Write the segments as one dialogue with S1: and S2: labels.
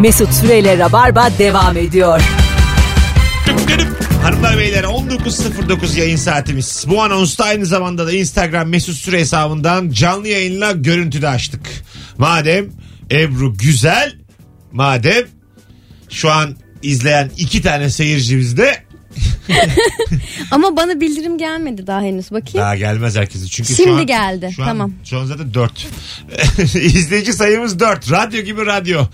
S1: Mesut Süreyle Rabarba devam ediyor.
S2: Dönüp dönüp. Hanımlar beyler 19.09 yayın saatimiz. Bu anonsta aynı zamanda da Instagram mesut süre hesabından canlı yayınla görüntüde açtık. Madem Ebru güzel, madem şu an izleyen iki tane seyircimiz de
S3: Ama bana bildirim gelmedi daha henüz. Bakayım.
S2: daha gelmez herkese. Çünkü şu
S3: Şimdi
S2: an-
S3: geldi.
S2: Şu an,
S3: Tamam.
S2: Şu an zaten 4. İzleyici sayımız 4. Radyo gibi radyo.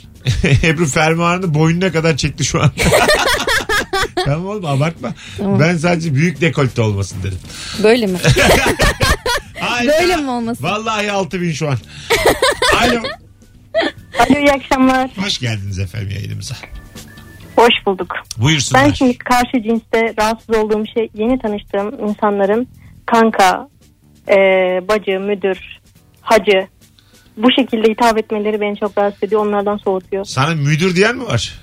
S2: Ebru fermuarını boynuna kadar çekti şu an. tamam oğlum abartma. Ben sadece büyük dekolte olmasın dedim.
S3: Böyle mi?
S2: Hayda.
S3: Böyle mi olmasın?
S2: Vallahi 6000 şu an. Alo.
S4: Alo iyi akşamlar.
S2: Hoş geldiniz efendim yayınımıza.
S4: Hoş bulduk.
S2: Buyursunlar.
S4: Ben şimdi karşı cinste rahatsız olduğum şey yeni tanıştığım insanların kanka, e, bacı, müdür, hacı bu şekilde hitap etmeleri beni çok rahatsız ediyor. Onlardan soğutuyor.
S2: Sana müdür diyen mi var?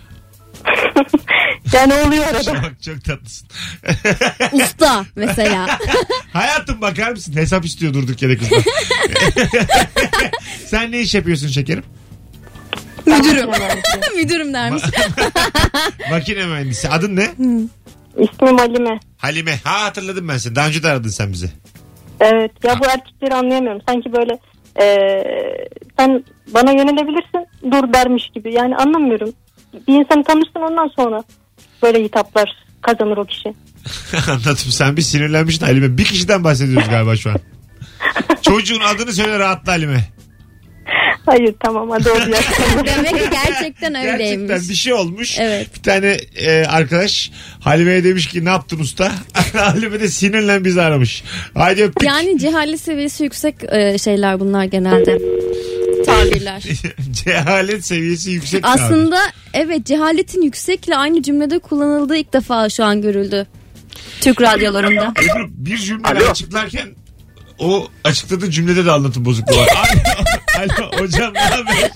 S4: yani oluyor arada.
S2: Bak çok tatlısın.
S3: Usta mesela.
S2: Hayatım bakar mısın? Hesap istiyor durduk yere kızdan. Sen ne iş yapıyorsun şekerim?
S3: Müdürüm. Müdürüm dermiş.
S2: Makine mühendisi. Adın ne?
S4: İsmim Halime.
S2: Halime. Ha hatırladım ben seni. Daha önce de aradın sen bizi.
S4: Evet ya bu erkekleri anlayamıyorum. Sanki böyle e, sen bana yönelebilirsin dur dermiş gibi. Yani anlamıyorum. Bir insanı tanırsın ondan sonra böyle hitaplar kazanır o kişi.
S2: Anladım. Sen bir sinirlenmiştin Halime. Bir kişiden bahsediyoruz galiba şu an. Çocuğun adını söyle rahatla Halime.
S4: Hayır tamam hadi o diğer konuda.
S3: Demek ki gerçekten öyleymiş.
S2: Gerçekten bir şey olmuş.
S3: Evet.
S2: Bir tane e, arkadaş Halime'ye demiş ki ne yaptın usta? Halime de sinirlen bizi aramış. Haydi öptük.
S3: Yani cehalet seviyesi yüksek e, şeyler bunlar genelde. Tabirler.
S2: Cehalet seviyesi yüksek. abi.
S3: Aslında evet cehaletin yüksekle aynı cümlede kullanıldığı ilk defa şu an görüldü. Türk radyolarında.
S2: Ebru, bir cümle
S5: Alo.
S2: açıklarken o açıkladığı cümlede de anlatım bozukluğu var. Alo, alo, hocam ne haber?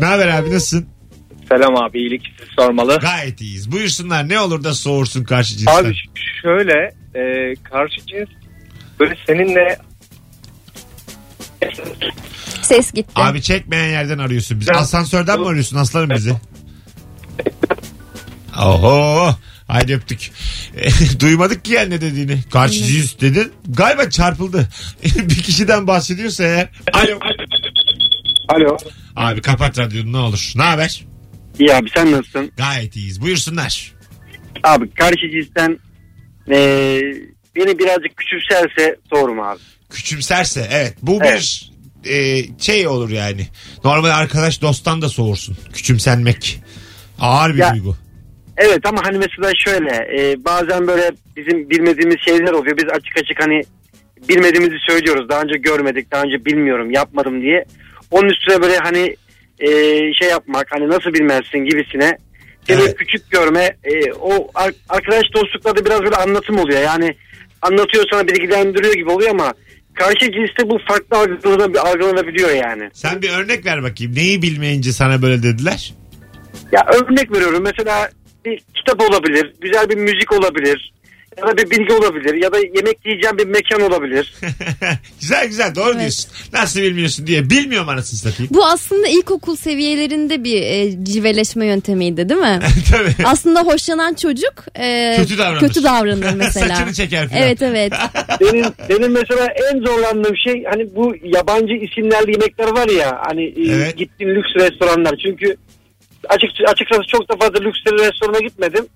S2: ne haber abi nasılsın?
S5: Selam abi iyilik siz sormalı.
S2: Gayet iyiyiz. Buyursunlar ne olur da soğursun karşı cinsten.
S5: Abi ş- şöyle e, karşı cins böyle seninle
S3: Ses gitti.
S2: Abi çekmeyen yerden arıyorsun bizi. Asansörden mi arıyorsun aslanım bizi? Oho. Haydi öptük. Duymadık ki yani ne dediğini. Karşı cins dedin. Galiba çarpıldı. bir kişiden bahsediyorsa eğer. Alo.
S6: Alo.
S2: Abi kapat radyonu ne olur. Ne haber?
S6: İyi abi sen nasılsın?
S2: Gayet iyiyiz. Buyursunlar.
S6: Abi karşı cinsten eee, beni birazcık küçümserse sorum abi.
S2: Küçümserse evet. Bu
S6: Evet.
S2: bir e, şey olur yani. Normal arkadaş dosttan da soğursun. Küçümsenmek. Ağır bir
S6: Ya-
S2: duygu.
S6: Evet ama hani mesela şöyle eee, bazen böyle bizim bilmediğimiz şeyler oluyor. Biz açık açık hani bilmediğimizi söylüyoruz. Daha önce görmedik, daha önce bilmiyorum, yapmadım diye. Onun üstüne böyle hani eee, şey yapmak hani nasıl bilmezsin gibisine. Seni
S2: Evet.
S6: küçük görme eee, o ar- arkadaş dostluklarda biraz böyle anlatım oluyor. Yani anlatıyor sana bilgilendiriyor gibi oluyor ama karşı cinste bu farklı algılana- algılanabiliyor yani.
S2: Sen bir örnek ver bakayım. Neyi bilmeyince sana böyle dediler?
S6: Ya örnek veriyorum mesela bir kitap olabilir, güzel bir müzik olabilir ya da bir bilgi olabilir ya da yemek yiyeceğim bir mekan olabilir.
S2: güzel güzel doğru
S3: Evet.
S2: diyorsun. Nasıl bilmiyorsun diye. Bilmiyorum anasını satayım.
S3: Bu aslında ilkokul seviyelerinde bir e, civeleşme yöntemiydi değil mi?
S2: Tabii.
S3: aslında hoşlanan çocuk e,
S2: Kötü davranır.
S3: kötü davranır mesela.
S2: Saçını çeker falan.
S3: Evet evet.
S6: benim, benim mesela en zorlandığım şey hani bu yabancı isimlerli yemekler var ya hani e,
S2: Evet.
S6: gittiğim lüks restoranlar çünkü açık, açıkçası çok da fazla lüks restorana gitmedim.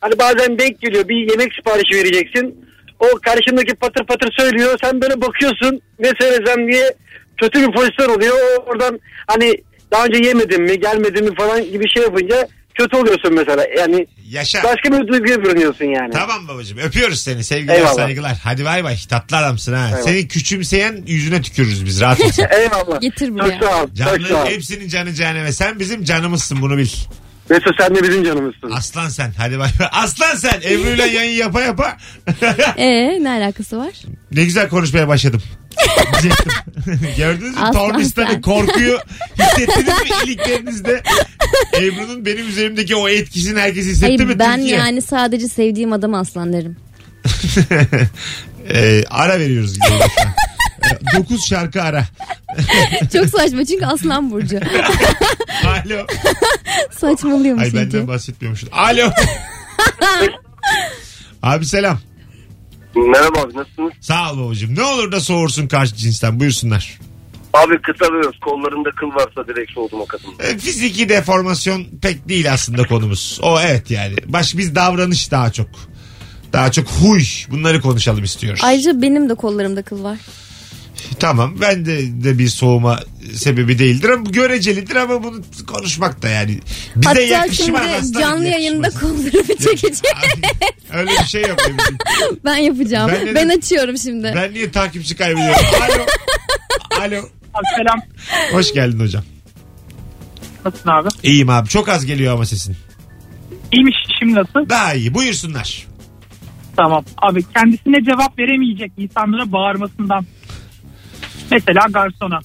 S6: Hani bazen denk geliyor bir yemek siparişi vereceksin o karşındaki patır patır söylüyor sen böyle bakıyorsun ne söylesem diye kötü bir pozisyon oluyor O oradan hani daha önce yemedim mi gelmedim mi falan gibi şey yapınca kötü oluyorsun mesela yani
S2: Yaşa.
S6: başka bir duyguya bürünüyorsun yani.
S2: Tamam babacığım öpüyoruz seni sevgiler
S6: Eyvallah.
S2: saygılar. Hadi bay bay tatlı adamsın ha.
S6: Eyvallah.
S2: Seni küçümseyen yüzüne tükürürüz biz rahat ol sen.
S6: Eyvallah.
S3: Getir buraya.
S6: Çok sağ ol. Çok sağ
S2: Canlı
S6: ol.
S2: hepsinin canı cehenneme. Sen bizim canımızsın bunu bil.
S6: Mesut sen de bizim canımızsın.
S2: Aslan sen. Hadi bay bay. Aslan sen. Ebru'yla yayın yapa yapa.
S3: E ne alakası var?
S2: ne güzel konuşmaya başladım. Diyecektim. Gördünüz mü?
S3: Aslan
S2: Tornistan'ı
S3: sen.
S2: korkuyu hissettiniz mi iliklerinizde? Ebru'nun benim üzerimdeki o etkisini herkes hissetti mi?
S3: Hayır ben
S2: Türkiye?
S3: yani sadece sevdiğim adam aslan derim.
S2: Ee, ara veriyoruz. 9 Ee, şarkı ara.
S3: Çok saçma çünkü aslan burcu.
S2: Alo.
S3: Saçmalıyor
S2: Ay
S3: musun
S2: benden bahsetmiyormuşsun. Alo. Abi selam.
S7: Merhaba abi nasılsınız?
S2: Sağ ol babacığım. Ne olur da soğursun karşı cinsten buyursunlar.
S7: Abi kısalıyoruz. Kollarında kıl varsa direkt soğudum o kadında.
S2: E, Fiziki deformasyon pek değil aslında konumuz. O evet yani. Baş biz davranış daha çok. Daha çok huy. Bunları konuşalım istiyoruz.
S3: Ayrıca benim de kollarımda kıl var.
S2: Tamam ben de, de bir soğuma sebebi değildir ama bu görecelidir ama bunu konuşmak da yani. Bize
S3: Hatta
S2: yakışmaz
S3: şimdi
S2: aslanım,
S3: canlı yayında
S2: yakışmaz.
S3: kollarımı çekeceğim.
S2: Öyle bir şey yok. benim için.
S3: ben yapacağım.
S2: Ben
S3: Ben,
S2: de-
S3: açıyorum şimdi.
S2: ben niye takipçi kaybediyorum? Alo. Alo.
S8: Abi selam.
S2: Hoş geldin hocam.
S8: Nasılsın abi?
S2: İyiyim abi. Çok az geliyor ama sesin.
S8: İyiymiş şimdi nasıl?
S2: Daha iyi. Buyursunlar.
S8: Tamam. Abi kendisine cevap veremeyecek insanlara bağırmasından. Mesela garsona.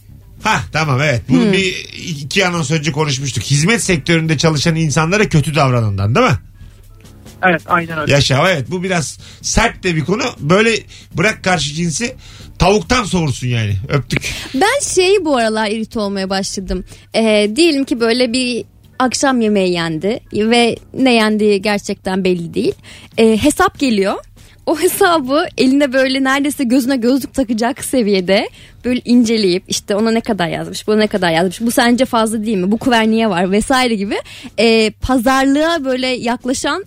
S2: Ha tamam evet. Bunu
S3: Hmm.
S2: bir iki anons önce konuşmuştuk. Hizmet sektöründe çalışan insanlara kötü davranandan değil mi?
S8: Evet aynen öyle.
S2: Yaşa evet bu biraz sert de bir konu. Böyle bırak karşı cinsi tavuktan soğursun yani. Öptük.
S3: Ben şey bu aralar irite olmaya başladım. Ee, diyelim ki böyle bir akşam yemeği yendi ve ne yendiği gerçekten belli değil. Ee, hesap geliyor. O hesabı eline böyle neredeyse gözüne gözlük takacak seviyede böyle inceleyip işte ona ne kadar yazmış, bu ne kadar yazmış, bu sence fazla değil mi, bu kuver niye var vesaire gibi ee, pazarlığa böyle yaklaşan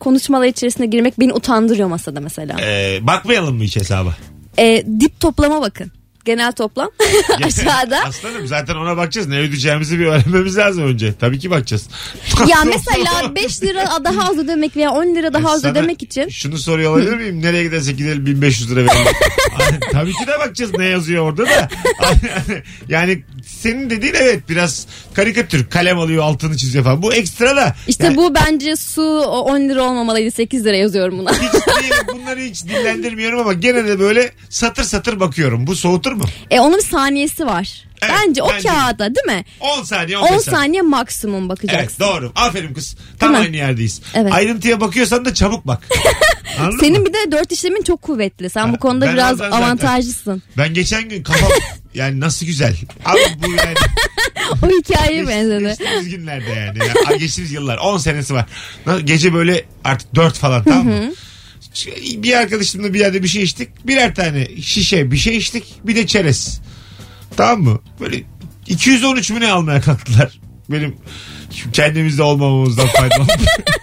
S3: konuşmalar içerisine girmek beni utandırıyor masada mesela.
S2: Ee, bakmayalım mı hiç hesaba?
S3: Ee, dip toplama bakın. Genel toplam aşağıda.
S2: Aslanım zaten ona bakacağız. Ne ödeyeceğimizi bir öğrenmemiz lazım önce. Tabii ki bakacağız.
S3: Ya mesela 5 lira daha az ödemek veya 10 lira daha az
S2: E, Sana
S3: ödemek için
S2: Şunu soruyor olabilir miyim? Nereye gidersek gidelim 1500 lira verelim. Ay, Tabii ki de bakacağız ne yazıyor orada da. yani senin dediğin evet biraz karikatür. Kalem alıyor altını çiziyor falan. Bu ekstra da.
S3: işte
S2: Yani
S3: bu bence su o 10 lira olmamalıydı 8 lira yazıyorum buna.
S2: hiç değil, bunları hiç dillendirmiyorum ama gene de böyle satır satır bakıyorum. Bu soğutur mu?
S3: E onun bir saniyesi var.
S2: Evet,
S3: bence o
S2: bence.
S3: kağıda değil mi?
S2: 10 saniye 15
S3: 10
S2: saniye.
S3: saniye maksimum
S2: Evet
S3: bakacaksın.
S2: doğru. Aferin kız. Tam
S3: Değil mi?
S2: aynı yerdeyiz.
S3: Evet.
S2: Ayrıntıya bakıyorsan da çabuk bak. Anladın mı?
S3: Senin bir de dört işlemin çok kuvvetli. Sen
S2: Ha,
S3: bu konuda
S2: ben
S3: biraz
S2: oradan zaten-
S3: avantajlısın.
S2: Ben geçen gün kafam yani nasıl güzel. Ama bu yani
S3: O hikayeye
S2: Geç-
S3: benzedi.
S2: Geçtiğimiz günlerde yani. Ya, ay, geçtiğimiz yıllar. 10 senesi var. Na- Gece böyle artık 4 falan tamam mı? Ş- Bir arkadaşımla bir yerde bir şey içtik. Birer tane şişe bir şey içtik. Bir de çerez. Tamam mı? Böyle 213 mü ne almaya kalktılar. Benim şu kendimizde olmamamızdan faydalı.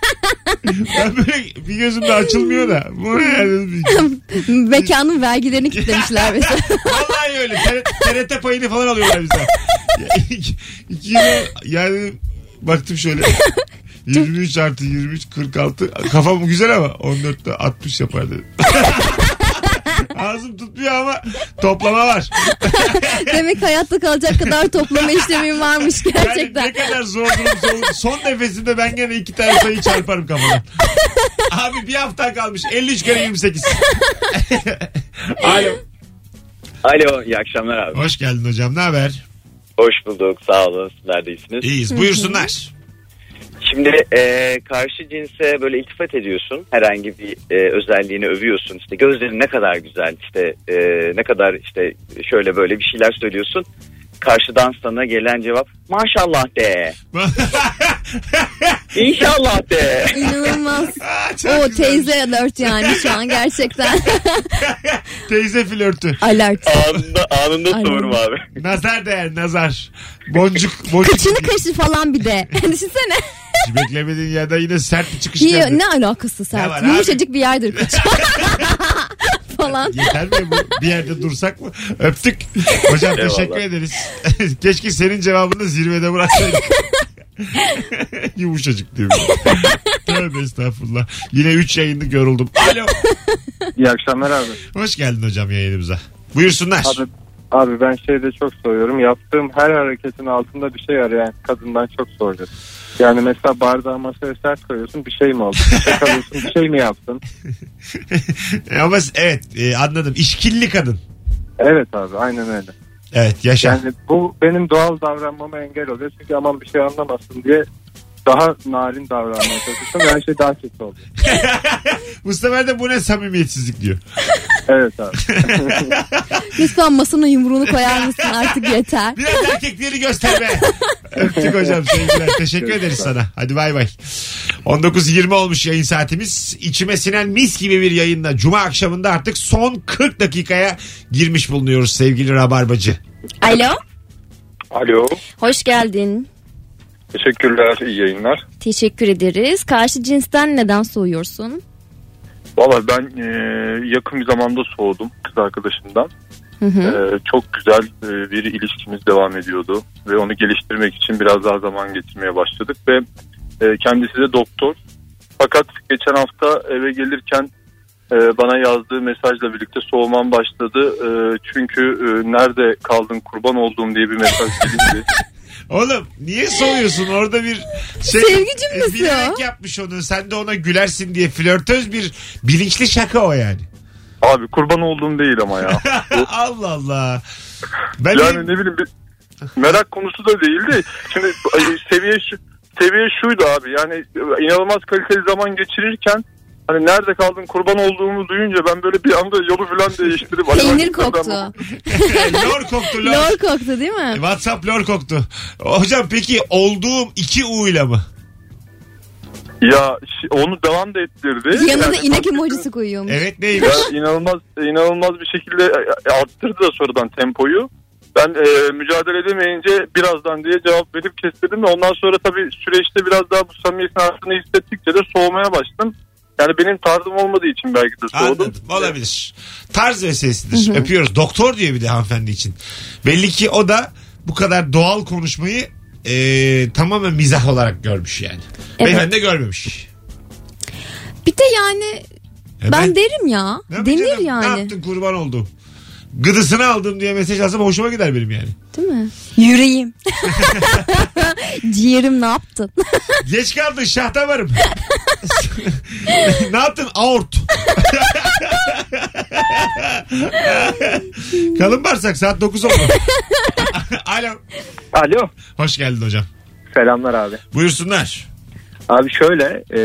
S2: ben böyle bir gözümde açılmıyor da. Bu ne ya dedim.
S3: Mekanın vergilerini kilitlemişler mesela.
S2: Vallahi öyle. T- TRT payını falan alıyorlar bizden. İki- İki yıl yani baktım şöyle. 23 artı 23 46 kafam güzel ama 14'te 60 yapar dedim. Ağzım tutmuyor ama toplama var.
S3: Demek hayatta kalacak kadar toplama işlemim varmış gerçekten.
S2: Yani ne kadar zor durum son, son nefesinde ben gene iki tane sayı çarparım kafadan. Abi bir hafta kalmış 53 kere 28. Alo.
S5: Alo iyi akşamlar abi.
S2: Hoş geldin hocam ne haber?
S5: Hoş bulduk sağ olun sizler de iyisiniz.
S2: İyiyiz buyursunlar.
S5: Şimdi e, karşı cinse böyle iltifat ediyorsun. Herhangi bir e, özelliğini övüyorsun. İşte gözlerin ne kadar güzel. işte e, ne kadar işte şöyle böyle bir şeyler söylüyorsun. Karşıdan sana gelen cevap maşallah de. İnşallah de.
S3: İnanılmaz.
S2: Aa, çok
S3: O
S2: güzel.
S3: teyze alert yani şu an gerçekten.
S2: Teyze flörtü.
S3: alert.
S5: anında anında
S3: Ay.
S5: sorum abi.
S2: Nazar değer nazar. Boncuk boncuk.
S3: Kıçını kaşı falan bir de. Düşünsene.
S2: Hiç beklemediğin yerde yine sert bir çıkış
S3: Niye,
S2: geldi.
S3: ne alakası
S2: Ne var
S3: sert?
S2: abi?
S3: Yumuşacık bir yerdir kıç. falan.
S2: Yeter mi bu? Bir yerde dursak mı? Öptük. Hocam
S5: Eyvallah.
S2: teşekkür ederiz. Keşke senin cevabını zirvede bıraksaydık. Yumuşacık diyor. Tövbe estağfurullah. Yine 3 yayında yoruldum. Alo.
S7: İyi akşamlar abi.
S2: Hoş geldin hocam yayınımıza. Buyursunlar.
S7: Abi, abi ben şeyde çok soruyorum. Yaptığım her hareketin altında bir şey arayan kadından çok soruyorum. Yani mesela bardağı masaya sert koyuyorsun bir şey mi oldu? Bir şey kalıyorsun bir şey mi yaptın?
S2: Ama evet e, anladım. İşkilli kadın.
S7: Evet abi aynen öyle.
S2: Evet yaşa.
S7: Yani bu benim doğal davranmama engel oluyor. Çünkü aman bir şey anlamasın diye daha narin davranmaya çalışıyorum. Her şey daha kötü oluyor.
S2: Bu sefer de bu ne samimiyetsizlik diyor.
S7: Evet abi.
S3: Lütfen masana yumruğunu koyar mısın artık yeter.
S2: Biraz erkekleri göster be. Öptük hocam sevgiler. Teşekkür ederiz sana. Hadi bay bay. 19.20 olmuş yayın saatimiz. İçime sinen mis gibi bir yayınla Cuma akşamında artık son 40 dakikaya girmiş bulunuyoruz sevgili Rabarbacı.
S3: Alo.
S7: Alo.
S3: Hoş geldin.
S7: Teşekkürler. iyi yayınlar.
S3: Teşekkür ederiz. Karşı cinsten neden soğuyorsun?
S7: Valla ben e, yakın bir zamanda soğudum kız arkadaşımdan.
S3: Hı hı.
S7: E, çok güzel e, bir ilişkimiz devam ediyordu. Ve onu geliştirmek için biraz daha zaman geçirmeye başladık. Ve e, kendisi de doktor. Fakat geçen hafta eve gelirken e, bana yazdığı mesajla birlikte soğumam başladı. E, çünkü e, nerede kaldın kurban olduğum diye bir mesaj gelindi.
S2: Oğlum niye soğuyorsun orada bir şey.
S3: Sevgi
S2: E,
S3: cümlesi
S2: bilerek
S3: o.
S2: yapmış onu. Sen de ona gülersin diye flörtöz bir bilinçli şaka o yani.
S7: Abi kurban olduğum değil ama ya.
S2: Allah Allah. Ben
S7: Yani ne bileyim bir merak konusu da değildi. Şimdi ay, seviye şu, seviye şuydu abi. Yani inanılmaz kaliteli zaman geçirirken hani nerede kaldın kurban olduğumu duyunca ben böyle bir anda yolu falan değiştirip
S3: Peynir
S7: acaba-
S3: koktu.
S2: lor koktu lor.
S3: Lor koktu değil mi?
S2: WhatsApp lor koktu. Hocam peki olduğum iki U ile mi?
S7: Ya şi- onu devam da ettirdi.
S3: Yanına
S7: Yani
S3: inek emojisi koyuyormuş.
S2: Evet neymiş?
S7: Ya inanılmaz inanılmaz bir şekilde e, arttırdı da sonradan tempoyu. Ben e, mücadele edemeyince birazdan diye cevap verip kestirdim de ondan sonra tabii süreçte biraz daha bu samimiyetin arttığını hissettikçe de soğumaya başladım. Yani benim tarzım olmadığı için belki de soğudum.
S2: Anladım. Olabilir. Tarz meselesidir. Öpüyoruz. Doktor diyor bir de hanımefendi için. Belli ki o da bu kadar doğal konuşmayı e, tamamen mizah olarak görmüş yani.
S3: Evet.
S2: Beyefendi de görmemiş.
S3: Bir de yani
S2: E
S3: ben derim ya.
S2: ne yapayım
S3: Denir
S2: canım? Ne
S3: yani.
S2: yaptın kurban oldum. Gıdısını aldım diye mesaj alsam hoşuma gider benim yani.
S3: Değil mi? Yüreğim. Ciğerim ne yaptın?
S2: Geç kaldın şahta varım. ne yaptın? Aort. Kalın bağırsak saat 9 oldu. Alo.
S9: Alo.
S2: Hoş geldin hocam.
S9: Selamlar abi.
S2: Buyursunlar.
S9: Abi şöyle e,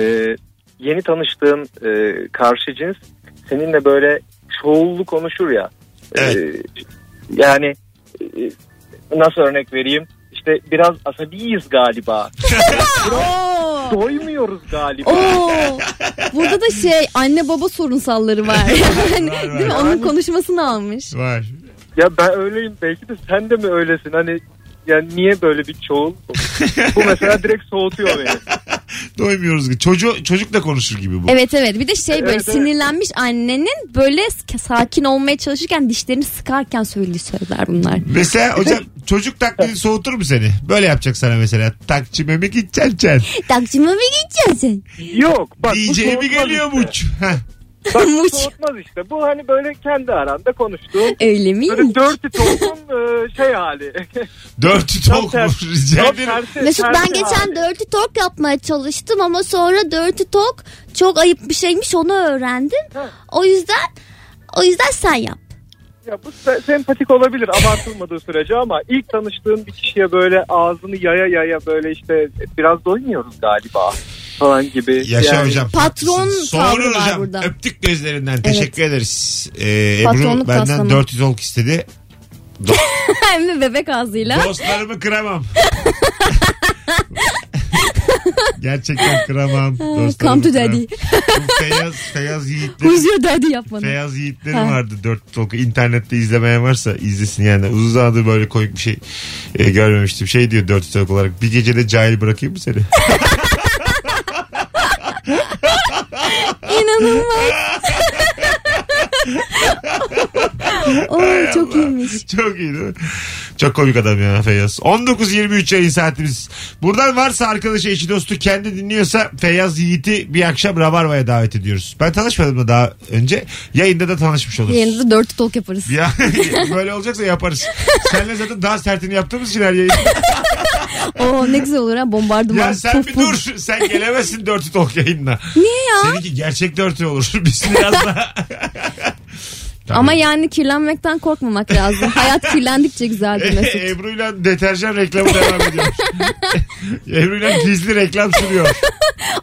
S9: yeni tanıştığın e, karşı cins seninle böyle şovlu konuşur ya. E,
S2: Evet.
S9: yani e, nasıl örnek vereyim? İşte biraz asabiyiz galiba.
S3: Oo.
S9: Doymuyoruz galiba.
S3: Oo. Burada da şey anne baba sorunsalları var. Yani,
S2: Var, var.
S3: değil mi? Onun konuşmasını almış.
S2: Var.
S9: Ya ben öyleyim belki de sen de mi öylesin? Hani yani niye böyle bir çoğul? Bu mesela direkt soğutuyor beni.
S2: Doymuyoruz. ki. Çocuğu, çocukla konuşur gibi bu.
S3: Evet evet bir de şey böyle
S9: Evet, evet.
S3: sinirlenmiş annenin böyle s- sakin olmaya çalışırken dişlerini sıkarken söylediği sözler bunlar.
S2: Mesela hocam çocuk taklidi soğutur mu seni? Böyle yapacak sana mesela. Takçime mi gideceksin?
S3: Takcime mi gideceksin?
S9: Yok bak bu
S2: DJ'ye mi
S9: soğutmaz
S2: geliyor
S9: işte.
S2: muç? Heh.
S9: Bak bu
S3: Muç.
S9: soğutmaz işte. Bu hani böyle kendi aranda konuştuğun
S3: Öyle mi?
S9: böyle dirty talk'un e, şey hali.
S2: Dörtü
S9: Tam
S2: tok mu?
S9: tersi-
S2: Rica
S9: tam
S2: ederim.
S9: tersi-
S3: Mesut
S9: tersi
S3: ben geçen
S9: hali.
S3: Dirty Talk yapmaya çalıştım ama sonra Dirty Talk çok ayıp bir şeymiş onu öğrendim.
S9: Ha.
S3: O yüzden o yüzden sen yap.
S9: Ya bu se- sempatik olabilir abartılmadığı sürece ama ilk tanıştığın bir kişiye böyle ağzını yaya yaya böyle işte biraz doymuyoruz galiba falan gibi.
S2: Yaşa
S9: Yani-
S2: hocam.
S3: Patron
S2: haklısın.
S3: tavrı
S2: Sorun
S3: var
S2: hocam.
S3: burada.
S2: Öptük gözlerinden. Teşekkür ederiz. Ee, Ebru
S3: Patronluk
S2: benden
S3: taslama.
S2: 400 olk istedi.
S3: Hem de bebek ağzıyla.
S2: Dostlarımı kıramam. Gerçekten kıramam. Dostlarımı
S3: Come to
S2: kıramam.
S3: daddy.
S2: Bu Feyyaz, Feyyaz Yiğit'lerin
S3: Who's your daddy yapmanı.
S2: Feyyaz Yiğitlerin
S3: Ha.
S2: vardı dört talk. İnternette izlemeye varsa izlesin yani. Uzun zamandır böyle komik bir şey e, görmemiştim. Şey diyor dört talk olarak. Bir gecede cahil bırakayım mı seni?
S3: İnanılmaz. Oo, çok iyiymiş.
S2: Çok iyi değil mi? Çok komik adam ya Feyyaz. 19.23 yayın saatimiz. Buradan varsa arkadaşı, eşi, dostu kendi dinliyorsa Feyyaz Yiğit'i bir akşam Rabarba'ya davet ediyoruz. Ben tanışmadım da daha önce. Yayında da tanışmış oluruz.
S3: Yayınızda dört talk yaparız.
S2: Ya böyle olacaksa yaparız. Senle zaten daha sertini yaptığımız için her yayın.
S3: Oo ne güzel olur ha bombardıman.
S2: Ya sen
S3: Puf
S2: bir
S3: puf.
S2: dur. Sen gelemezsin dörtü tok yayınına.
S3: Niye ya?
S2: Seninki gerçek dörtü olur. Biz biraz daha. Tabii.
S3: Ama yani kirlenmekten korkmamak lazım. Hayat kirlendikçe güzeldir Mesut.
S2: Ebru'yla deterjan reklamı devam ediyor. Ebru'yla gizli reklam sürüyor.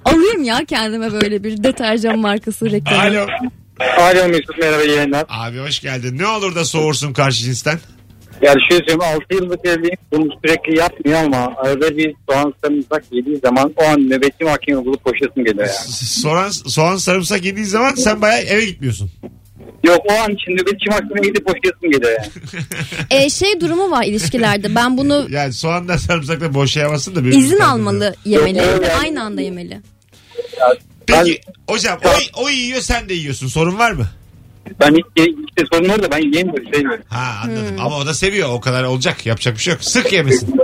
S3: Alayım ya kendime böyle bir deterjan markası reklamı.
S2: Alo.
S6: Alo Mesut merhaba iyi yayınlar.
S2: Abi hoş geldin. Ne olur da soğursun karşı cinsten.
S6: Yani şöyle söyleyeyim 6 yıllık evliyim bunu sürekli yapmıyor ama arada bir soğan sarımsak yediği zaman o an nöbetçi mahkeme bulup koşasım geliyor yani.
S2: Soğan, soğan sarımsak yediği zaman sen bayağı eve gitmiyorsun.
S6: Yok o an için nöbetçi mahkeme gidip koşasım geliyor yani.
S3: E, şey durumu var ilişkilerde. Ben bunu
S2: Yani soğanla sarımsakla boşayamazsın da. birbirinden
S3: izin
S2: de.
S3: almalı yemeli. Ve aynı anda yemeli.
S2: Peki hocam o, o yiyor sen de yiyorsun. Sorun var mı?
S6: Ben hiç işte sorun orada ben şey yiyemiyorum sevmiyorum.
S2: Ha anladım. Ama o da seviyor. O kadar olacak. Yapacak bir şey yok. Sık yemesin.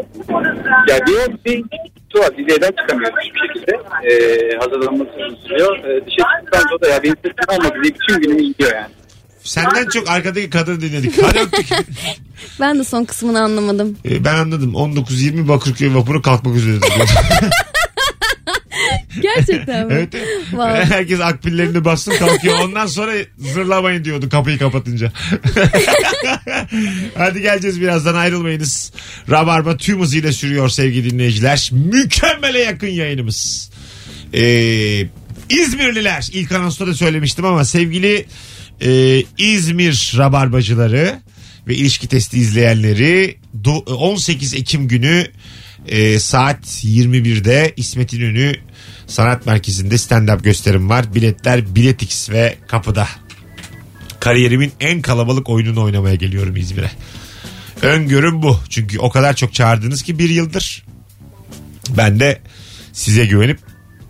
S6: Ya diyor bir şey tuhaf dizeyden çıkamıyoruz hiçbir şekilde. Ee, hazırlanması sürüyor. Ee, dışarı çıktıktan sonra da ya benim sesim olmadı diye bütün günümü yiyor yani.
S2: Senden çok arkadaki kadını dinledik. Hadi öptük.
S3: Ben de son kısmını anlamadım.
S2: Ee, ben anladım. 19-20 Bakırköy vapuru kalkmak üzere.
S3: Gerçekten mi?
S2: evet.
S3: Vay.
S2: Herkes akpillerini bassın kalkıyor. Ondan sonra zırlamayın diyordu kapıyı kapatınca. Hadi geleceğiz birazdan ayrılmayınız. Rabarba tüm hızıyla sürüyor sevgili dinleyiciler. Mükemmele yakın yayınımız. Ee, İzmirliler ilk anonsta da söylemiştim ama sevgili e, İzmir rabarbacıları ve ilişki testi izleyenleri do- 18 Ekim günü e, saat 21'de İsmet İnönü Sanat Merkezi'nde stand-up gösterim var. Biletler Biletix ve kapıda. Kariyerimin en kalabalık oyununu oynamaya geliyorum İzmir'e. Öngörüm bu. Çünkü o kadar çok çağırdınız ki bir yıldır. Ben de size güvenip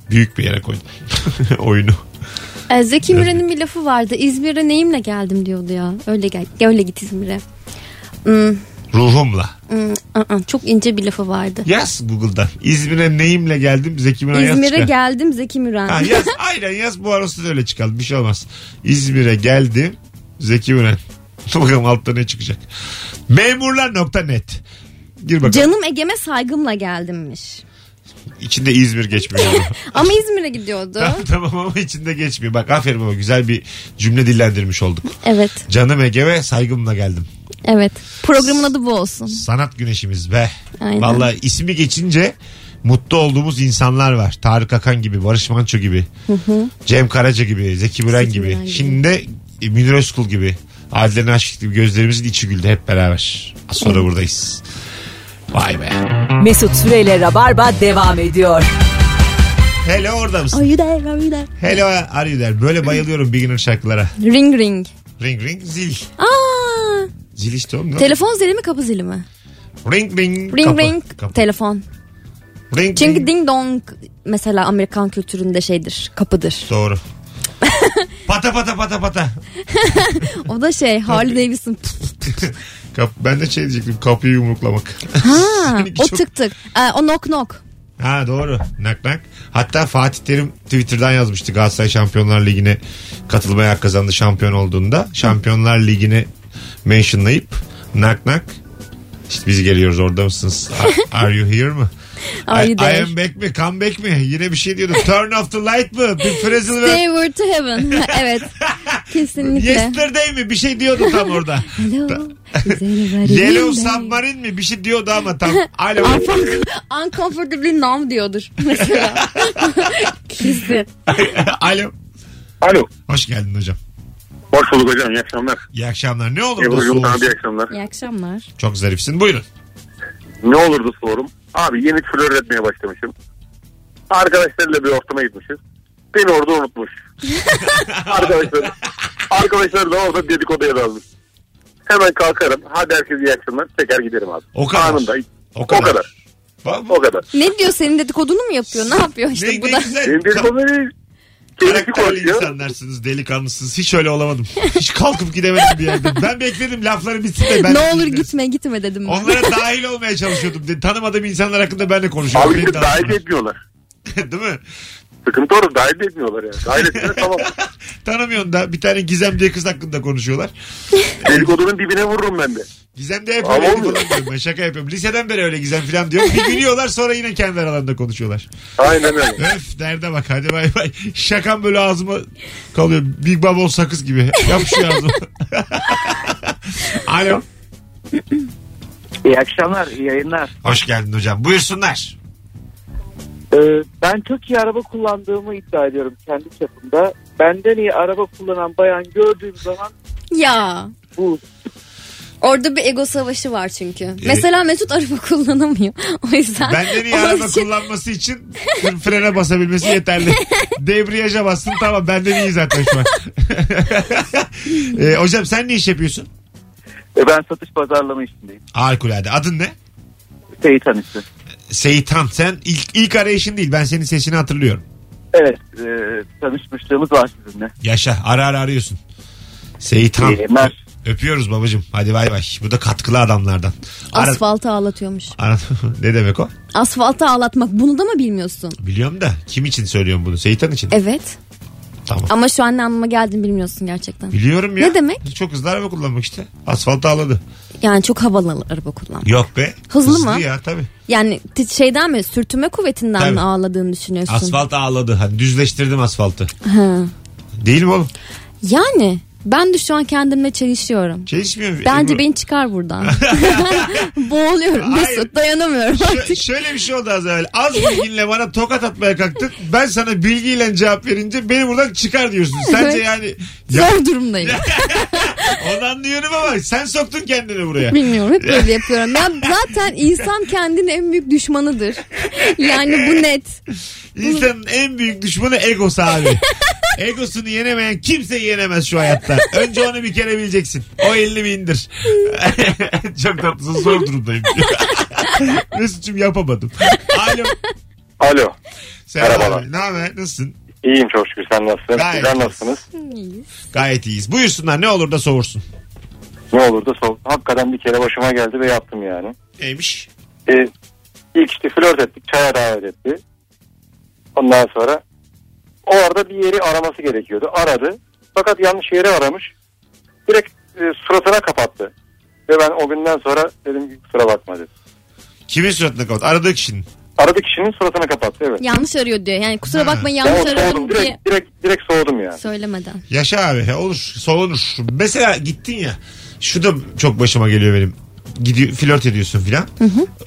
S2: büyük bir yere koydum oyunu.
S3: Ee, Zeki Müren'in bir lafı vardı. İzmir'e neyimle geldim diyordu ya. Öyle gel, öyle git İzmir'e. Hmm,
S2: Ruhumla.
S3: hmm, ı-ı. çok ince bir lafı vardı.
S2: Yaz Google'da. İzmir'e neyimle geldim? Zeki Müren yaz
S3: İzmir'e
S2: çıkar.
S3: geldim Zeki Müren.
S2: Ha, yaz. Aynen yaz. Bu arası da öyle çıkalım. Bir şey olmaz. İzmir'e geldim. Zeki Müren. Bakalım altta ne çıkacak. Memurlar.net Gir bakalım.
S3: Canım Ege'me saygımla geldimmiş.
S2: İçinde İzmir geçmiyor.
S3: Ama İzmir'e gidiyordu.
S2: tamam, tamam ama içinde geçmiyor. Bak aferin ama güzel bir cümle dillendirmiş olduk.
S3: evet,
S2: Canım Ege've saygımla geldim.
S3: evet. Programın adı bu olsun.
S2: Sanat güneşimiz be.
S3: Aynen.
S2: Vallahi ismi geçince mutlu olduğumuz insanlar var. Tarık Akan gibi, Barış Manço gibi, Cem Karaca gibi, Zeki Müren
S3: Zeki
S2: gibi.
S3: Müren gibi.
S2: Şimdi de Münir Özkul gibi. Adile Naşit gibi gözlerimizin içi güldü hep beraber. Az sonra buradayız. Vay be.
S1: Mesut Süreyle Rabarba devam ediyor.
S2: Hello orada mısın?
S3: Are you there, are you there?
S2: Hello are you there? Böyle bayılıyorum beginner şarkılara.
S3: Ring ring.
S2: Ring ring zil.
S3: Aa,
S2: Zil işte oğlum. ne?
S3: telefon zili mi kapı zili mi?
S2: Ring ring.
S3: Ring
S2: kapı,
S3: ring
S2: kapı.
S3: telefon.
S2: Ring
S3: Çünkü
S2: ring.
S3: ding dong mesela Amerikan kültüründe şeydir, kapıdır.
S2: Doğru. pata pata pata pata.
S3: O da şey Harley Davidson. pf,
S2: Kap, ben de şey diyecektim kapıyı yumruklamak.
S3: Ha,
S2: Seninki
S3: o
S2: çok-
S3: tık tık. Ee, o knock knock.
S2: Ha doğru. Nak nak. Hatta Fatih Terim Twitter'dan yazmıştı Galatasaray Şampiyonlar Ligi'ne katılmaya hak kazandı şampiyon olduğunda. Şampiyonlar Ligi'ni mentionlayıp nak nak işte biz geliyoruz orada mısınız? Are- Are you here mı?
S3: Are
S2: I,
S3: you there?
S2: I am back mi? Come back mi? Yine bir şey diyordu. Turn off the light mı? Bir frizzle
S3: They
S2: mi?
S3: were to heaven. Ha, evet. Kesinlikle.
S2: Yesterday mi? Bir şey diyordu tam orada.
S3: Hello. is anybody in
S2: Yellow
S3: there?
S2: Submarine mi? Bir şey diyordu ama tam. Alo.
S3: Uncomfortably numb diyordur mesela. Kesin.
S2: Alo.
S7: Alo.
S2: Hoş geldin hocam.
S7: Hoş bulduk hocam. iyi akşamlar.
S2: İyi akşamlar. Ne olur
S7: İyi
S2: da
S7: hocam.
S2: soğursun.
S7: Abi iyi akşamlar.
S3: İyi akşamlar.
S2: Çok zarifsin. Buyurun.
S7: Ne olurdu sorum. Abi yeni flör etmeye başlamışım. Arkadaşlarıyla bir ortama gitmişiz. Beni orada unutmuş. arkadaşlar, arkadaşlar da orada dedikoduya dalmış. Hemen kalkarım. Hadi herkese iyi akşamlar. Çeker giderim abi.
S2: O kadar.
S7: Anında.
S2: O kadar.
S7: O kadar.
S2: Bak,
S7: O kadar.
S3: Ne diyor senin dedikodunu mu yapıyor? Ne yapıyor işte
S2: ne,
S3: bu
S2: ne
S3: da?
S2: güzel.
S7: Benim
S2: Ka-
S7: dedikodu değil. Kendisi
S2: Karakterli
S7: konuşuyor.
S2: insanlarsınız, delikanlısınız. Hiç öyle olamadım. Hiç kalkıp gidemedim bir yerde. Ben bekledim lafları bitsin de ben.
S3: ne olur gitme gitme dedim ben.
S2: Onlara dahil olmaya çalışıyordum. De- Tanımadığım insanlar hakkında ben de konuşuyorum.
S7: Abi
S2: Beni
S7: işte dahil
S2: tanısınlar.
S7: etmiyorlar.
S2: Değil mi?
S7: Sıkıntı orada dahil de etmiyorlar yani. Dahil etmiyorlar tamam.
S2: Tanımıyorsun da bir tane Gizem diye kız hakkında konuşuyorlar.
S7: Dedikodunun dibine vururum ben de.
S2: Gizem de hep
S7: Ama
S2: öyle falan
S7: olmuyor.
S2: diyorum ben şaka yapıyorum. Liseden beri öyle Gizem falan diyor. Bir gülüyorlar sonra yine kendi aralarında konuşuyorlar.
S7: Aynen öyle.
S2: Öf derde bak hadi bay bay. Şakam böyle ağzıma kalıyor. Big Bubble sakız gibi. Yapışıyor ağzıma. Alo.
S10: İyi akşamlar, iyi yayınlar.
S2: Hoş geldin hocam. Buyursunlar.
S10: Ee, ben çok iyi araba kullandığımı iddia ediyorum kendi çapımda.
S9: Benden iyi araba kullanan bayan gördüğüm zaman
S3: Ya.
S9: bu
S3: Orada bir ego savaşı var çünkü.
S2: E-
S3: Mesela Mesut araba kullanamıyor. O yüzden.
S2: Benden iyi
S3: onun
S2: araba
S3: için-
S2: kullanması için frene basabilmesi yeterli. Debriyaja bassın tamam benden iyi zaten şu an. Ee, hocam sen ne iş yapıyorsun?
S10: E, ben satış pazarlama işindeyim.
S2: Harikulade. Adın ne?
S10: Seyitan işi.
S2: Seyitan. Sen ilk, ilk arayışın değil. Ben senin sesini hatırlıyorum.
S10: Evet e, tanışmışlığımız var sizinle.
S2: Yaşa. Ara ara arıyorsun. Seyitan.
S10: İyi yayınlar.
S2: Öpüyoruz babacığım. Hadi bay bay. Bu da katkılı adamlardan. Ara,
S3: Asfaltı ağlatıyormuş.
S2: Ara- ne demek o?
S3: Asfaltı ağlatmak bunu da mı bilmiyorsun?
S2: Biliyorum da kim için söylüyorum bunu? Seyitan için.
S3: Evet.
S2: Tamam.
S3: Ama şu an ne anlama geldiğini bilmiyorsun gerçekten.
S2: Biliyorum ya.
S3: Ne demek?
S2: Çok hızlı araba kullanmak işte. Asfalt ağladı.
S3: Yani çok havalı araba kullan.
S2: Yok be.
S3: Hızlı mı?
S2: ya tabii.
S3: Yani t- şeyden mi sürtünme kuvvetinden
S2: Tabii.
S3: mi ağladığını düşünüyorsun?
S2: Asfalt ağladı. Hani düzleştirdim asfaltı.
S3: Ha.
S2: Değil mi oğlum?
S3: Yani ben de şu an kendimle çelişiyorum.
S2: Çelişmiyor mu?
S3: Bence
S2: Ebru?
S3: beni çıkar buradan. Boğuluyorum
S2: Hayır.
S3: Mesut dayanamıyorum.
S2: Şö- şöyle bir şey oldu az evvel. Az bilginle bana tokat atmaya kalktık. Ben sana bilgiyle cevap verince beni buradan çıkar diyorsun. Sence
S3: Evet.
S2: yani... Ya,
S3: Zor durumdayım.
S2: onu anlıyorum ama sen soktun kendini buraya.
S3: Bilmiyorum hep böyle yapıyorum. Ben zaten insan kendinin en büyük düşmanıdır. Yani bu net.
S2: İnsanın en büyük düşmanı egosu abi. Egosunu yenemeyen kimse yenemez şu hayatta. Önce onu bir kere bileceksin. O elini bir indir. Çok tatlısın zor durumdayım. Mesut'cum yapamadım. Alo.
S7: Alo.
S2: Selam
S7: Merhabalar.
S2: abi. Ne haber? Nasılsın?
S7: İyiyim çok şükür. Sen nasılsın?
S2: Gayet
S7: Sizler nasılsınız?
S2: Gayet iyiyiz. Buyursunlar ne olur da soğursun.
S7: Ne olur da sor. Hakikaten bir kere başıma geldi ve yaptım yani.
S2: Neymiş?
S7: E, ilk işte flört ettik. Çaya davet etti. Ondan sonra o arada bir yeri araması gerekiyordu. Aradı. Fakat yanlış yeri aramış. Direkt e, suratına kapattı. Ve ben o günden sonra dedim ki kusura bakma dedim.
S2: Kimin suratına kapat? Aradığı kişinin.
S7: Aradı kişinin suratına kapattı evet.
S3: Yanlış arıyor diyor. Yani kusura
S2: Ha.
S3: bakma
S7: Ben o
S3: yanlış
S7: soğudum.
S3: aradım diye
S7: Direkt, direkt, direkt soğudum yani.
S3: söylemeden.
S2: Yaşa abi olur soğunur. Mesela gittin ya şu da çok başıma geliyor benim. Gidiyor, flört ediyorsun filan.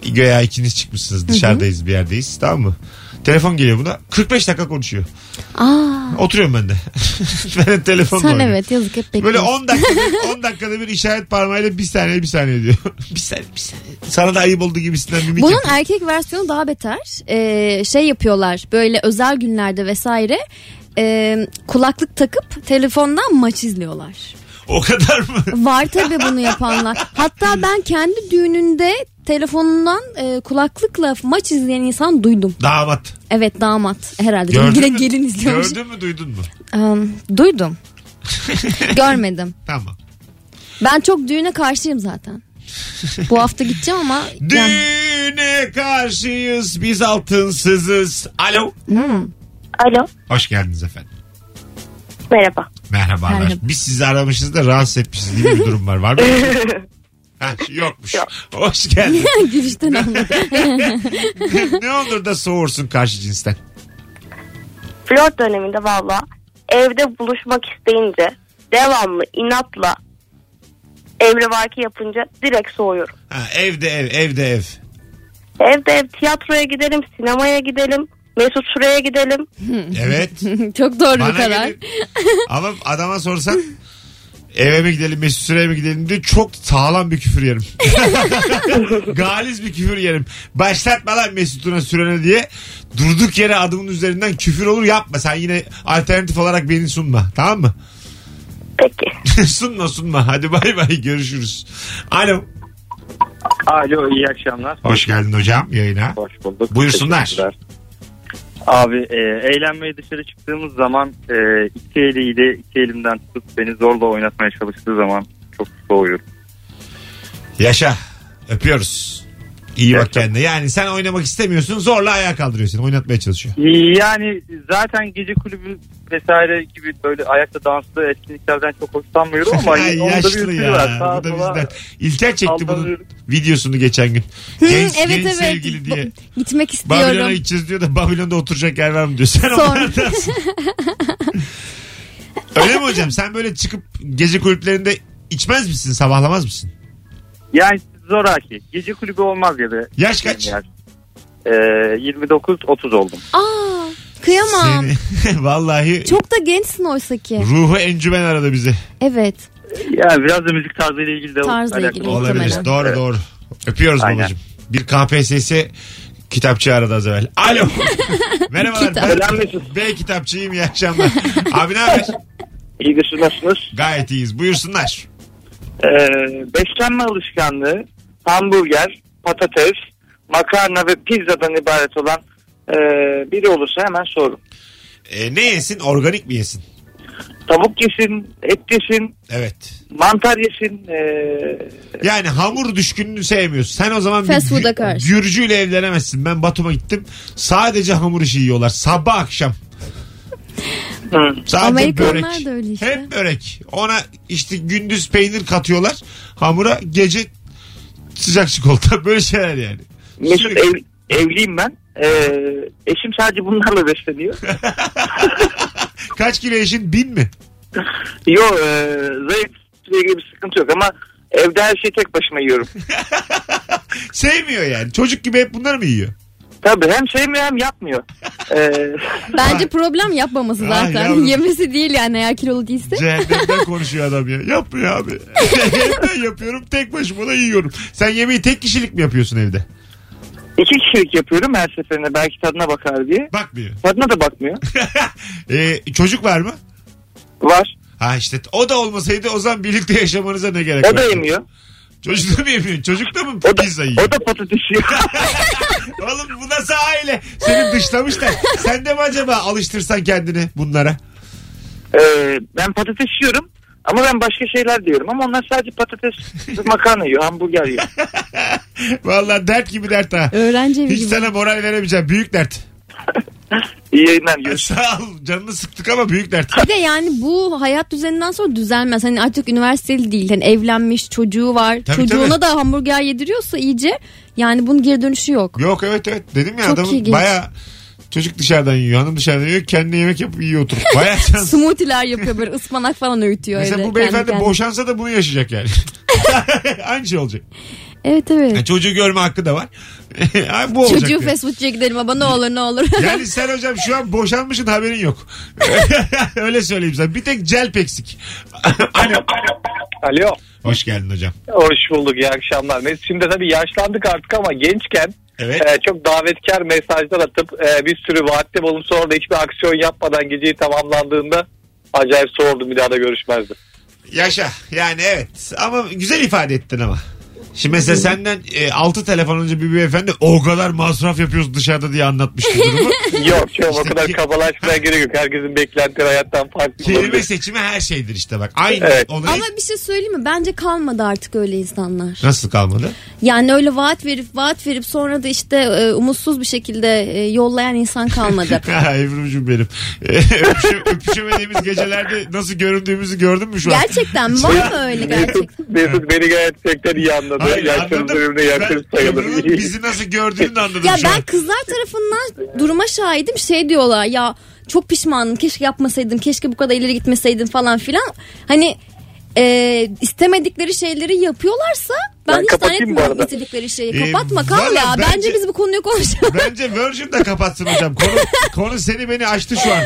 S2: Göya ikiniz çıkmışsınız dışarıdayız bir yerdeyiz tamam mı? Telefon geliyor buna 45 dakika konuşuyor.
S3: Aa,
S2: Oturuyorum ben de. ben de telefonla
S3: sen
S2: oynuyorum.
S3: evet yazık hep
S2: Böyle
S3: bekliyorsun.
S2: 10 dakikada, 10 dakikada bir işaret parmağıyla bir saniye bir saniye diyor. bir saniye bir saniye. Sana da ayıp oldu gibisinden mimik
S3: Bunun
S2: yapıyor.
S3: erkek versiyonu daha beter. Ee, şey yapıyorlar böyle özel günlerde vesaire e, kulaklık takıp telefondan maç izliyorlar.
S2: O kadar mı?
S3: Var tabi bunu yapanlar. Hatta ben kendi düğününde telefonundan e, kulaklıkla maç izleyen insan duydum.
S2: Damat.
S3: Evet damat herhalde.
S2: Gördün
S3: Yine
S2: mü?
S3: gelin izliyormuş.
S2: Gördün mü duydun mu?
S3: Um, duydum. Görmedim.
S2: Tamam.
S3: Ben çok düğüne karşıyım zaten. Bu hafta gideceğim ama yani,
S2: Düğüne karşıyız biz altınsızız. Alo.
S3: hmm.
S4: Alo
S2: Hoş geldiniz efendim.
S4: merhaba.
S2: Merhabalar.
S3: Merhaba.
S2: Biz sizi aramışız da rahatsız etmişiz gibi bir durum var. Var mı? ha, yokmuş. Hoş geldin.
S3: gülüşten anladım.
S2: ne olur da soğursun karşı cinsten.
S4: flört döneminde valla evde buluşmak isteyince devamlı inatla emrivaki yapınca direkt soğuyorum.
S2: Ha, evde ev, evde ev.
S4: Evde ev tiyatroya gidelim, sinemaya gidelim, Mesut şuraya gidelim.
S2: Evet.
S3: çok doğru
S2: Bana
S3: bir karar.
S2: gelin. Ama adama sorsan eve mi gidelim Mesut Süre'ye mi gidelim diye çok sağlam bir küfür yerim. Galiz bir küfür yerim. Başlatma lan Mesut'una Süren'e diye durduk yere adımın üzerinden küfür olur yapma. Sen yine alternatif olarak beni sunma. Tamam mı?
S4: Peki.
S2: sunma sunma. Hadi bay bay görüşürüz. Alo.
S10: Alo iyi akşamlar.
S2: Hoş geldin hocam yayına.
S10: Hoş bulduk.
S2: Buyursunlar.
S10: Teşekkürler. Abi e, eğlenmeye dışarı çıktığımız zaman e, iki eliyle iki elimden tutup beni zorla oynatmaya çalıştığı zaman çok soğuyorum.
S2: Yaşa. Öpüyoruz. İyi bak
S10: Gerçekten.
S2: kendine. Yani sen oynamak istemiyorsun zorla ayağa kaldırıyorsun. Oynatmaya çalışıyor.
S10: E, Yani zaten gece kulübü vesaire gibi böyle ayakta danslı etkinliklerden çok hoşlanmıyorum ama
S2: Ay,
S10: onda bir
S2: yaşlı
S10: ütülü
S2: ya.
S10: var. Sağa
S2: Bu da
S10: sola
S2: bizden. İlker çekti bunun
S10: aldanıyorum.
S2: videosunu geçen gün.
S3: Hı,
S2: genç
S3: evet
S2: genç
S3: evet.
S2: sevgili diye.
S3: Ba- Gitmek
S2: Babilon'a
S3: istiyorum.
S2: gideceğiz diyor da Babilon'da oturacak yer var mı diyor. Sen
S3: Sonra.
S2: onlardansın. Öyle mi hocam? Sen böyle çıkıp gece kulüplerinde içmez misin? Sabahlamaz mısın?
S10: Yani zoraki. Gece kulübü olmaz ya da.
S2: Yaş kaç?
S10: Ee, 29-30 oldum.
S3: Aa, kıyamam.
S2: Vallahi
S3: Çok da gençsin oysa ki.
S2: ruhu encümen aradı bizi.
S3: Evet.
S10: Yani biraz da müzik tarzıyla ilgili de
S3: Tarzla
S10: alakalı
S3: ilgili
S10: olabilir.
S2: Olabilir.
S3: muhtemelen.
S2: Doğru doğru. Öpüyoruz
S10: Aynen.
S2: babacığım. Bir KPSS kitapçı aradı az evvel. Alo. Merhabalar.
S5: Selam
S2: ben,
S5: Mesut.
S2: ben kitapçıyım. iyi akşamlar. Abi ne haber?
S5: İyi günler nasılsınız?
S2: Gayet iyiyiz. Buyursunlar.
S5: Ee, beslenme alışkanlığı hamburger, patates, makarna ve pizzadan ibaret olan e, biri olursa hemen sorun.
S2: Ee, ne yesin? Organik mi yesin?
S5: Tavuk yesin, et yesin,
S2: Evet.
S5: mantar yesin. e,
S2: Yani hamur düşkününü sevmiyorsun. Sen o zaman
S3: Fast
S2: bir gü-
S3: food'a karşı.
S2: Gürcüyle evlenemezsin. Ben Batum'a gittim. Sadece hamur işi yiyorlar. Sabah akşam. Sadece
S3: Amerikanlar
S2: börek.
S3: da öyle işte.
S2: Hep börek. Ona işte gündüz peynir katıyorlar. Hamura gece sıcak çikolata. Böyle şeyler yani.
S5: Mesut
S2: Sürekli-
S5: ev- evliyim ben. Ee, eşim sadece bunlarla besleniyor.
S2: Kaç kilo eşin? Bin mi?
S5: Yo e, zayıf ilgili bir sıkıntı yok ama evde her şeyi tek başıma yiyorum.
S2: Sevmiyor yani. Çocuk gibi hep bunları mı yiyor?
S5: Tabii hem sevmiyor hem yapmıyor. Ee,
S3: Bence problem yapmaması
S2: Ah,
S3: zaten.
S2: yavrum.
S3: Yemesi değil yani eğer kilolu değilse.
S2: Cehennemden konuşuyor adam ya. Yapmıyor abi. Cehennemden yapıyorum. Tek başıma da yiyorum. Sen yemeği tek kişilik mi yapıyorsun evde?
S5: iki kişilik yapıyorum her seferinde belki tadına bakar diye.
S2: Bakmıyor.
S5: Tadına da bakmıyor.
S2: Ee, çocuk var mı?
S5: Var.
S2: Ha işte o da olmasaydı o zaman birlikte yaşamanıza ne gerek var?
S5: O da yemiyor.
S2: Çocuk da mı yemiyor? Çocuk da mı
S5: O da,
S2: pizza yiyor?
S5: o da patates yiyor.
S2: Oğlum bu nasıl aile? Seni dışlamışlar. Sen de mi acaba alıştırsan kendini bunlara?
S5: Ee, ben patates yiyorum. Ama ben başka şeyler diyorum ama onlar sadece patates, makarna yiyor, hamburger yiyor.
S2: Vallahi dert gibi dert ha.
S3: Öğrenci evi
S2: Hiç
S3: gibi.
S2: sana moral veremeyeceğim. Büyük dert.
S5: İyi yayınlar görüşürüz.
S2: Sağ ol. Canını sıktık ama büyük dert.
S3: Bir de yani bu hayat düzeninden sonra düzelmez. Hani artık üniversiteli değil. Hani evlenmiş çocuğu var.
S2: Tabii,
S3: Çocuğuna
S2: tabii.
S3: da hamburger yediriyorsa iyice yani bunun geri dönüşü yok.
S2: Yok evet evet. Dedim ya
S3: Çok
S2: adamın
S3: ilginç.
S2: baya çocuk dışarıdan yiyor. Hanım dışarıdan yiyor. Kendi yemek yapıp yiyor oturup. Baya şans.
S3: Smoothie'ler yapıyor böyle ıspanak falan öğütüyor
S2: Mesela
S3: öyle.
S2: bu beyefendi
S3: kendi kendine.
S2: boşansa da bunu yaşayacak yani. Aynı şey olacak.
S3: Evet evet.
S2: Yani çocuğu görme hakkı da var. Abi bu olacak.
S3: Çocuğu
S2: yani.
S3: fast foodcuya gidelim ama ne olur ne olur.
S2: Yani sen hocam şu an boşanmışsın haberin yok. Öyle söyleyeyim sana. Bir tek celp eksik. Alo.
S9: Alo.
S2: Hoş geldin hocam.
S9: Hoş bulduk iyi akşamlar. Mesut şimdi tabii yaşlandık artık ama gençken
S2: Evet.
S9: e, çok davetkar mesajlar atıp e, bir sürü vaatte bulunup sonra da hiçbir aksiyon yapmadan geceyi tamamlandığında acayip soğurdum bir daha da görüşmezdim.
S2: Yaşa. Yani evet. Ama güzel ifade ettin ama. Şimdi mesela senden 6 telefon önce bir beyefendi o kadar masraf yapıyoruz dışarıda diye anlatmıştı durumu.
S9: Yok yok
S2: İşte
S9: o kadar
S2: ki-
S9: kabalaşmaya gerek yok. Herkesin beklentileri hayattan farklı.
S2: Kelime
S9: olabilir.
S2: seçimi her şeydir işte bak. Aynı
S9: Evet.
S2: olayı
S3: ama bir şey söyleyeyim mi? Bence kalmadı artık öyle insanlar.
S2: nasıl kalmadı?
S3: Yani öyle vaat verip vaat verip sonra da işte e, umutsuz bir şekilde e, yollayan insan kalmadı.
S2: Ha, Ebru'cum benim. Öpüşü- öpüşemediğimiz gecelerde nasıl göründüğümüzü gördün mü şu an? Şey,
S3: gerçekten mi? var mı öyle gerçekten?
S9: Mesut beni gerçekten iyi anladı.
S2: Hayır,
S9: Yaşlarımız
S2: anladım.
S9: birbirine yakın
S2: Ben
S9: sayılır.
S2: Ebru'nun bizi nasıl gördüğünü de anladım
S3: Ya
S2: şu
S3: ben
S2: an.
S3: kızlar tarafından duruma şahidim şey diyorlar ya çok pişmanım keşke yapmasaydım keşke bu kadar ileri gitmeseydim falan filan. Hani e, istemedikleri şeyleri yapıyorlarsa ben,
S9: Ben
S3: hiç
S9: kapatayım bu
S3: zannetmiyorum
S9: arada.
S3: istedikleri şeyi.
S2: Ee,
S3: Kapatma kal
S2: valla
S3: ya bence,
S2: bence-
S3: biz bu konuyu konuşalım.
S2: Bence Virgin de kapatsın hocam. Konu, konu seni beni açtı şu an.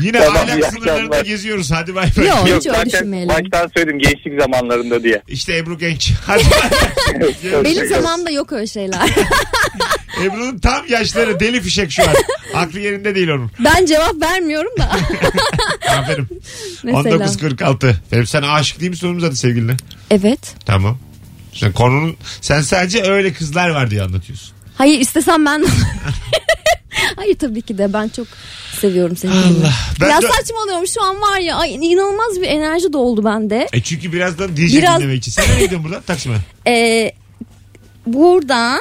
S2: Yine
S9: Tamam, iyi
S2: ahlak sınırlarında
S9: akşamlar.
S2: geziyoruz. Hadi bay bay.
S3: Yok.
S9: Yok
S3: Hiç öyle
S9: zaten
S3: düşünmeyelim.
S9: baştan söyledim gençlik zamanlarında diye.
S2: İşte Ebru Genç. Hadi bay bay.
S3: Benim zamanımda yok öyle şeyler.
S2: Ebru'nun tam yaşları deli fişek şu an. Aklı yerinde değil onun.
S3: ben cevap vermiyorum da.
S2: Aferin.
S3: Mesela.
S2: 19.46. Hem sen aşık değil misin oğlum zaten sevgiline?
S3: Evet.
S2: Tamam. Sen konunun sen sadece öyle kızlar var diye anlatıyorsun.
S3: Hayır istesem ben Hayır tabii ki de ben çok seviyorum seni.
S2: Allah. Ben
S3: ya
S2: de-
S3: saçmalıyorum şu an var ya ay, inanılmaz bir enerji doldu bende.
S2: E çünkü birazdan DJ
S3: Biraz-
S2: dinlemek için. Sen nereye gidiyorsun buradan? Taksim'e.
S3: Ee, buradan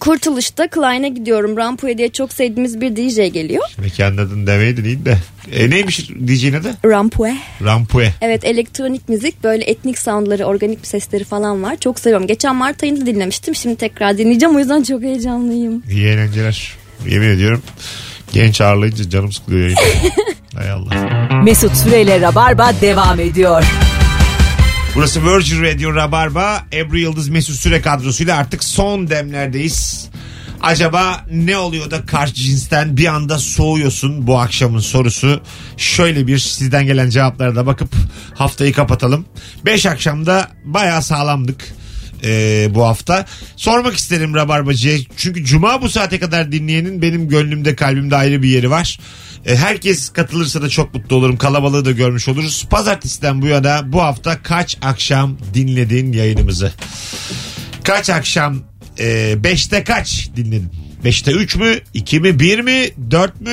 S3: Kurtuluş'ta Klein'e gidiyorum. Rampuya diye çok sevdiğimiz bir DJ geliyor.
S2: Mekanın adını demeydin iyi de. E neymiş DJ'nin adı?
S3: Rampue.
S2: Rampue.
S3: Evet elektronik müzik böyle etnik soundları, organik bir sesleri falan var. Çok seviyorum. Geçen Mart ayında dinlemiştim. Şimdi tekrar dinleyeceğim. O yüzden çok heyecanlıyım.
S2: İyi eğlenceler. Yemin ediyorum. Genç ağırlayınca canım sıkılıyor yayında. Hay Allah.
S1: Mesut Süreyle Rabarba devam ediyor.
S2: Burası Virgin Radio Rabarba. Ebru Yıldız Mesut Süre kadrosuyla artık son demlerdeyiz. Acaba ne oluyor da karşı cinsten bir anda soğuyorsun bu akşamın sorusu. Şöyle bir sizden gelen cevaplara da bakıp haftayı kapatalım. 5 akşamda bayağı sağlamdık e, bu hafta. Sormak isterim Rabarbacı'ya. Çünkü Cuma bu saate kadar dinleyenin benim gönlümde kalbimde ayrı bir yeri var. E, herkes katılırsa da çok mutlu olurum. Kalabalığı da görmüş oluruz. Pazartesiden bu yana bu hafta kaç akşam dinledin yayınımızı? Kaç akşam 5'te kaç dinledin? 5'te 3 mü? 2 mi? 1 mi? 4 mü?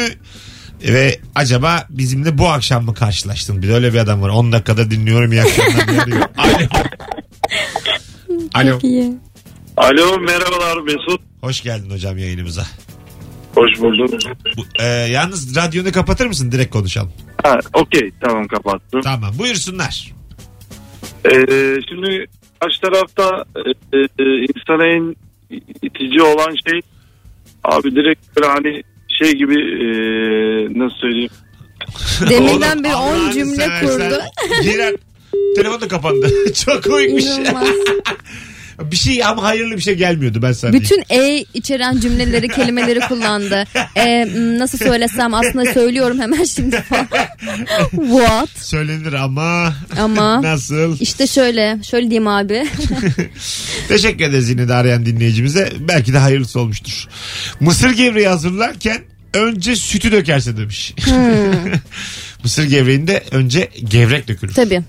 S2: Ve acaba bizimle bu akşam mı karşılaştın? Bir de öyle bir adam var. 10 dakikada dinliyorum iyi akşamlar diye arıyor. Alo. Alo.
S11: Alo merhabalar Mesut.
S2: Hoş geldin hocam yayınımıza.
S11: Hoş bulduk.
S2: Bu, e, yalnız radyonu kapatır mısın? Direkt konuşalım.
S11: Ha, Okey tamam kapattım.
S2: Tamam buyursunlar.
S11: Ee, şimdi karşı tarafta e, e, insana en itici olan şey abi direkt böyle hani şey gibi e, nasıl söyleyeyim.
S3: Deminden beri
S2: Allah'ını
S3: 10 cümle
S2: seversen.
S3: kurdu.
S2: Giren telefon da kapandı. Çok komikmiş.
S3: İnanılmaz.
S2: bir şey ama hayırlı bir şey gelmiyordu ben sana. diyeyim.
S3: Bütün e içeren cümleleri, kelimeleri kullandı. E, m, nasıl söylesem aslında söylüyorum hemen şimdi falan. What?
S2: Söylenir ama.
S3: Ama.
S2: Nasıl?
S3: İşte şöyle, şöyle diyeyim abi.
S2: Teşekkür ederiz yine de arayan dinleyicimize. Belki de hayırlısı olmuştur. Mısır gevreği hazırlarken önce sütü dökerse demiş.
S3: Hmm,
S2: Mısır gevreğinde önce gevrek dökülür.
S3: Tabii.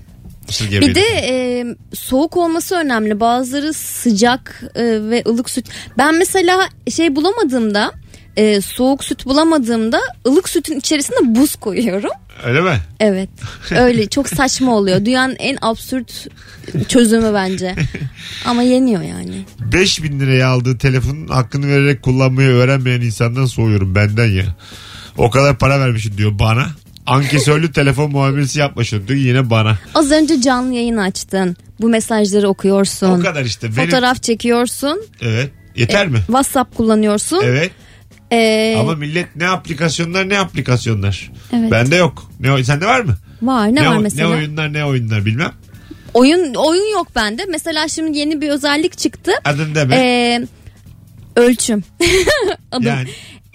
S2: Mısır
S3: Bir
S2: gevreğinde.
S3: de e, soğuk olması önemli. Bazıları sıcak e, ve ılık süt. Ben mesela şey bulamadığımda, e, soğuk süt bulamadığımda ılık sütün içerisine buz koyuyorum.
S2: Öyle mi?
S3: Evet. Öyle çok saçma oluyor. Dünyanın en absürt çözümü bence. Ama yeniyor yani.
S2: 5000 liraya aldığı telefonun hakkını vererek kullanmayı öğrenmeyen insandan soğuyorum benden ya. O kadar para vermişsin diyor bana. Ankesörlü telefon muamelesi yapmışsın diyor yine bana.
S3: Az önce canlı yayın açtın. Bu mesajları okuyorsun.
S2: O kadar işte. Benim,
S3: Fotoğraf E, çekiyorsun.
S2: Evet. Yeter mi?
S3: WhatsApp kullanıyorsun.
S2: Evet.
S3: Ee,
S2: Ama millet ne aplikasyonlar ne aplikasyonlar.
S3: Evet.
S2: Bende yok. Ne oy- sende var mı?
S3: var ne,
S2: o-
S3: var mesela?
S2: Ne
S3: oyun?
S2: oyunlar ne oyunlar bilmem.
S3: oyun yok bende. Mesela şimdi yeni bir özellik çıktı.
S2: Adını deme.
S3: Ee, ölçüm. Adım.
S2: yani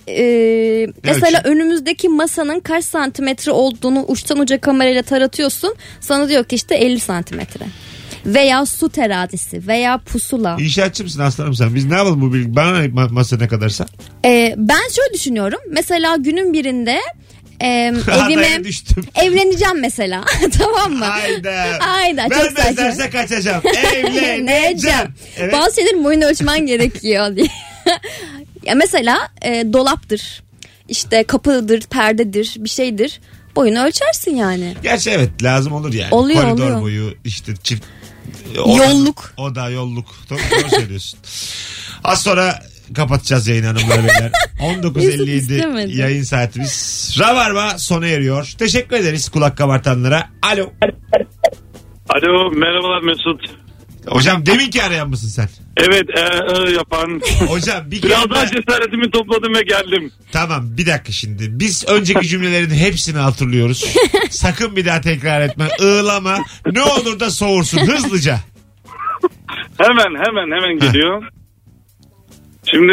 S3: Ee, mesela
S2: ölçüm?
S3: önümüzdeki masanın kaç santimetre olduğunu uçtan uca kamerayla taratıyorsun. Sana diyor ki işte 50 santimetre. Veya su terazisi veya pusula.
S2: inşaatçı mısın aslanım sen? Biz ne yapalım bu bilgi? Bana ne ma- masa ne kadarsa?
S3: Ee, ben şöyle düşünüyorum. Mesela günün birinde e,
S2: Adaya
S3: evime
S2: düştüm.
S3: evleneceğim mesela. tamam mı?
S2: Hayda.
S3: Hayda çok saçma.
S2: Vermezlerse kaçacağım. Evleneceğim.
S3: Evleneceğim.
S2: Evet.
S3: Bazı şeylerin boyunu ölçmen gerekiyor diye. ya mesela e, dolaptır. İşte kapıdır, perdedir, bir şeydir. Boyunu ölçersin yani.
S2: Gerçi evet lazım olur yani.
S3: Oluyor,
S2: Koridor
S3: oluyor.
S2: boyu işte çift.
S3: Yolluk.
S2: O da yolluk. Doğru, doğru söylüyorsun. Az sonra kapatacağız yayını hanımlar beyler.
S3: Mesut
S2: 19.57
S3: istemedi.
S2: yayın saatimiz. Rabarba sona eriyor. Teşekkür ederiz kulak kabartanlara. Alo.
S11: Alo merhabalar Mesut.
S2: Hocam deminki arayan mısın sen?
S11: Evet e, e, yapan.
S2: Hocam bir kere
S11: Biraz daha
S2: daha...
S11: cesaretimi topladım ve geldim.
S2: Tamam bir dakika şimdi. Biz önceki cümlelerin hepsini hatırlıyoruz. Sakın bir daha tekrar etme. Iğlama. Ne olur da soğursun hızlıca.
S11: Hemen hemen hemen geliyor. Şimdi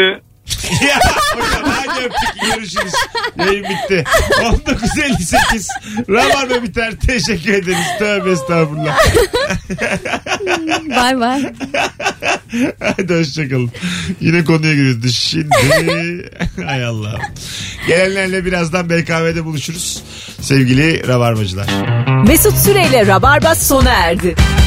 S2: ya hocam hadi öptük görüşürüz. Yayın bitti. 1958 Rabarba biter. Teşekkür ederiz. Tövbe estağfurullah.
S3: Bay bay.
S2: Hadi hoşçakalın. Yine konuya giriyoruz. Şimdi hay Allah. Gelenlerle birazdan BKM'de buluşuruz. Sevgili Rabarbacılar.
S1: Mesut Süreyle Rabarba sona erdi.